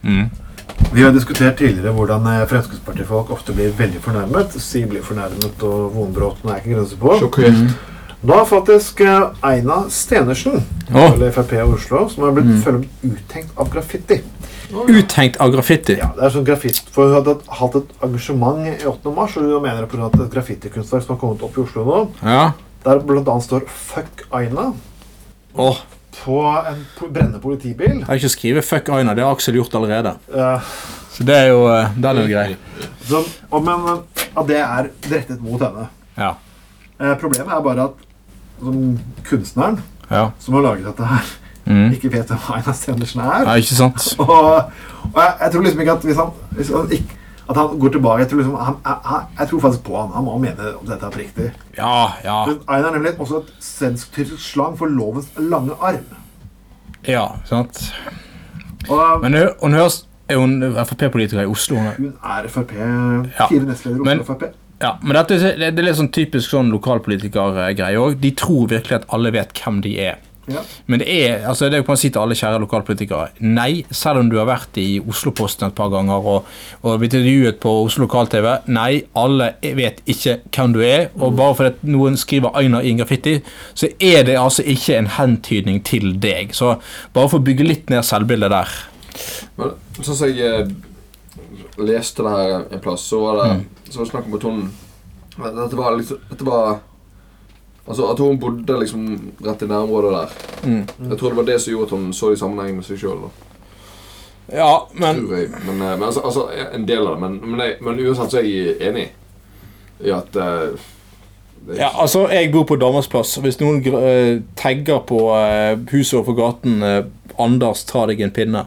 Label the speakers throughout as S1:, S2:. S1: Mm.
S2: Vi har diskutert tidligere hvordan eh, Fremskrittspartifolk ofte blir veldig fornærmet. Si blir fornærmet og vonbroten er ikke grenser på.
S3: Sjokkert.
S1: Mm.
S2: Da har faktisk eh, Aina Stenersen,
S1: Å.
S2: eller Frp i Oslo, som har blitt
S1: Mm.
S2: følt uttenkt av graffiti.
S1: Uthengt av graffiti.
S2: Ja, det er sånn graffiti, for Hun hadde hatt et engasjement i 8. mars, og hun mener på grunn av at et graffitikunstverk som har kommet opp i Oslo nå,
S1: Ja.
S2: der bl.a. står 'fuck Aina'
S1: Åh,
S2: på en po- brennende politibil.
S1: jeg har ikke skrevet 'fuck Aina'. Det har Aksel gjort allerede.
S2: Eh,
S1: Så det er jo, eh, den er jo grei.
S2: Så, og, men eh, at det er rettet mot henne.
S1: Ja.
S2: Eh, problemet er bare at som kunstneren
S1: Ja.
S2: som har laget dette her,
S1: Mm.
S2: ikke vet hvem Einar Stenersen er.
S1: ja, ikke sant?
S2: Og, og jeg, jeg tror liksom ikke at hvis han, hvis han ikke, at han går tilbake Jeg tror, liksom, han, jeg, jeg- jeg tror faktisk på han. Han må mene om dette er oppriktig.
S1: Ja, ja.
S2: Men Einar er nemlig også et svensk-tyrkisk slang for lovens lange arm.
S1: Ja, sant?
S2: Og
S1: Men hun, hun høres Er hun Frp-politiker i Oslo? Hun er.
S2: hun er Frp.
S1: Ja.
S2: Fire nestleder i
S1: Men-
S2: Oslo Frp.
S1: Ja, men dette er, det er litt sånn typisk sånn lokalpolitikergreie òg. De tror virkelig at alle vet hvem de er.
S2: Ja.
S1: Men det er altså det kan man si til alle kjære lokalpolitikere. Nei, selv om du har vært i Oslo-posten et par ganger og, og blitt intervjuet på Oslo lokal-TV. Nei, alle vet ikke hvem du er. Og bare fordi at noen skriver Aina i en graffiti, så er det altså ikke en hentydning til deg. Så bare for å bygge litt ned selvbildet der.
S3: Men sånn som jeg eh, leste det her en plass, så var det,
S1: Mm.
S3: så var det snakk om at hun at Dette var liksom Dette var Altså at hun bodde liksom rett i nærområdet der.
S1: Mm.
S3: Jeg tror det var det som gjorde at hun så det i sammenheng med seg sjøl.
S1: Ja, men
S3: Men, men, eh, men altså, altså en del av det. Men, men, jeg, men uansett så er jeg enig i at eh, det,
S1: Ja, altså, jeg bor på Damersplass, og hvis noen gr- eh, tagger på eh, huset overfor gaten eh, 'Anders, ta deg en pinne',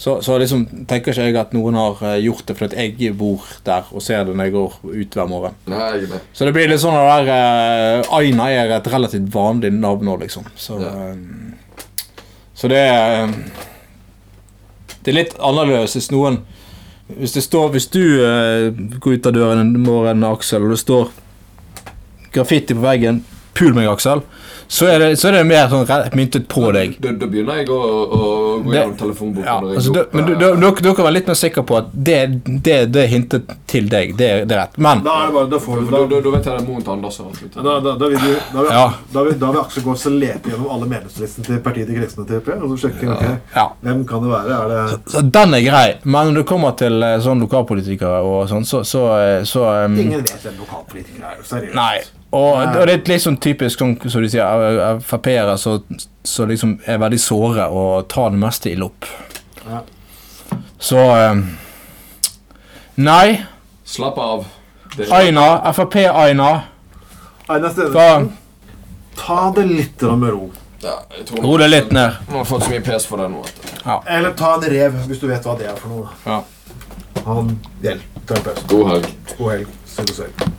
S1: så, så liksom tenker ikke jeg at noen har eh, gjort det, for at jeg bor der og ser det når jeg går ut hver morgen.
S3: Nei, jeg er med.
S1: Så det blir litt sånn at det der eh, Aina er et relativt vanlig navn nå, liksom. Så,
S3: Ja.
S1: eh, så det er eh, Det er litt annerledes hvis noen Hvis det står Hvis du eh, går ut av døren en morgen, Aksel, og det står graffiti på veggen 'Pul meg, Aksel', så er det, så er det mer sånn re- myntet på deg.
S3: Da, da begynner jeg å, å gå
S1: Det-
S3: gjennom telefonboken.
S1: Ja,
S3: og ringe
S1: altså, du,
S3: opp,
S1: men du,
S3: eh,
S1: du, dere- dere var litt mer sikre på at det, det, det er hintet til deg. Det, er- det er rett. Men
S2: Da er det bare, da får
S3: for
S2: vi
S3: Da,
S2: da,
S3: da, da vet jeg det er moren til Anders. som har sluttet.
S2: da, da, da vil du, da vil,
S1: Ja.
S2: da vil, da vil Aksel gå og så lete gjennom alle medlemslistene til partiet til kristne til Frp. Og så sjekke ok,
S1: ja.
S2: hvem kan det være. Er det
S1: Så den er grei, men når det kommer til eh, sånn lokalpolitikere og sånn, så, så, eh, så em,
S2: Ingen vet hvem lokalpolitikere er. Seriøst.
S1: Nei. Og, og det er litt sånn typisk sånn, som du sier, eh, eh, Frp-ere som som liksom er veldig såre og tar det meste i lopp.
S2: Ja.
S1: Så em, Nei.
S3: Slapp av. Det,
S1: Aina. Frp-Aina.
S2: Einar
S1: Da
S2: Stenersen, ta det litt grann med ro.
S3: ja, jeg tror
S1: ro det litt ned.
S3: Hun har fått så mye pes for det nå. At,
S2: Eller ta en rev, hvis du vet hva det er for noe.
S1: Ja.
S2: Han hjelper. Ta en pause.
S3: god helg.
S2: God helg. Sug og sørg.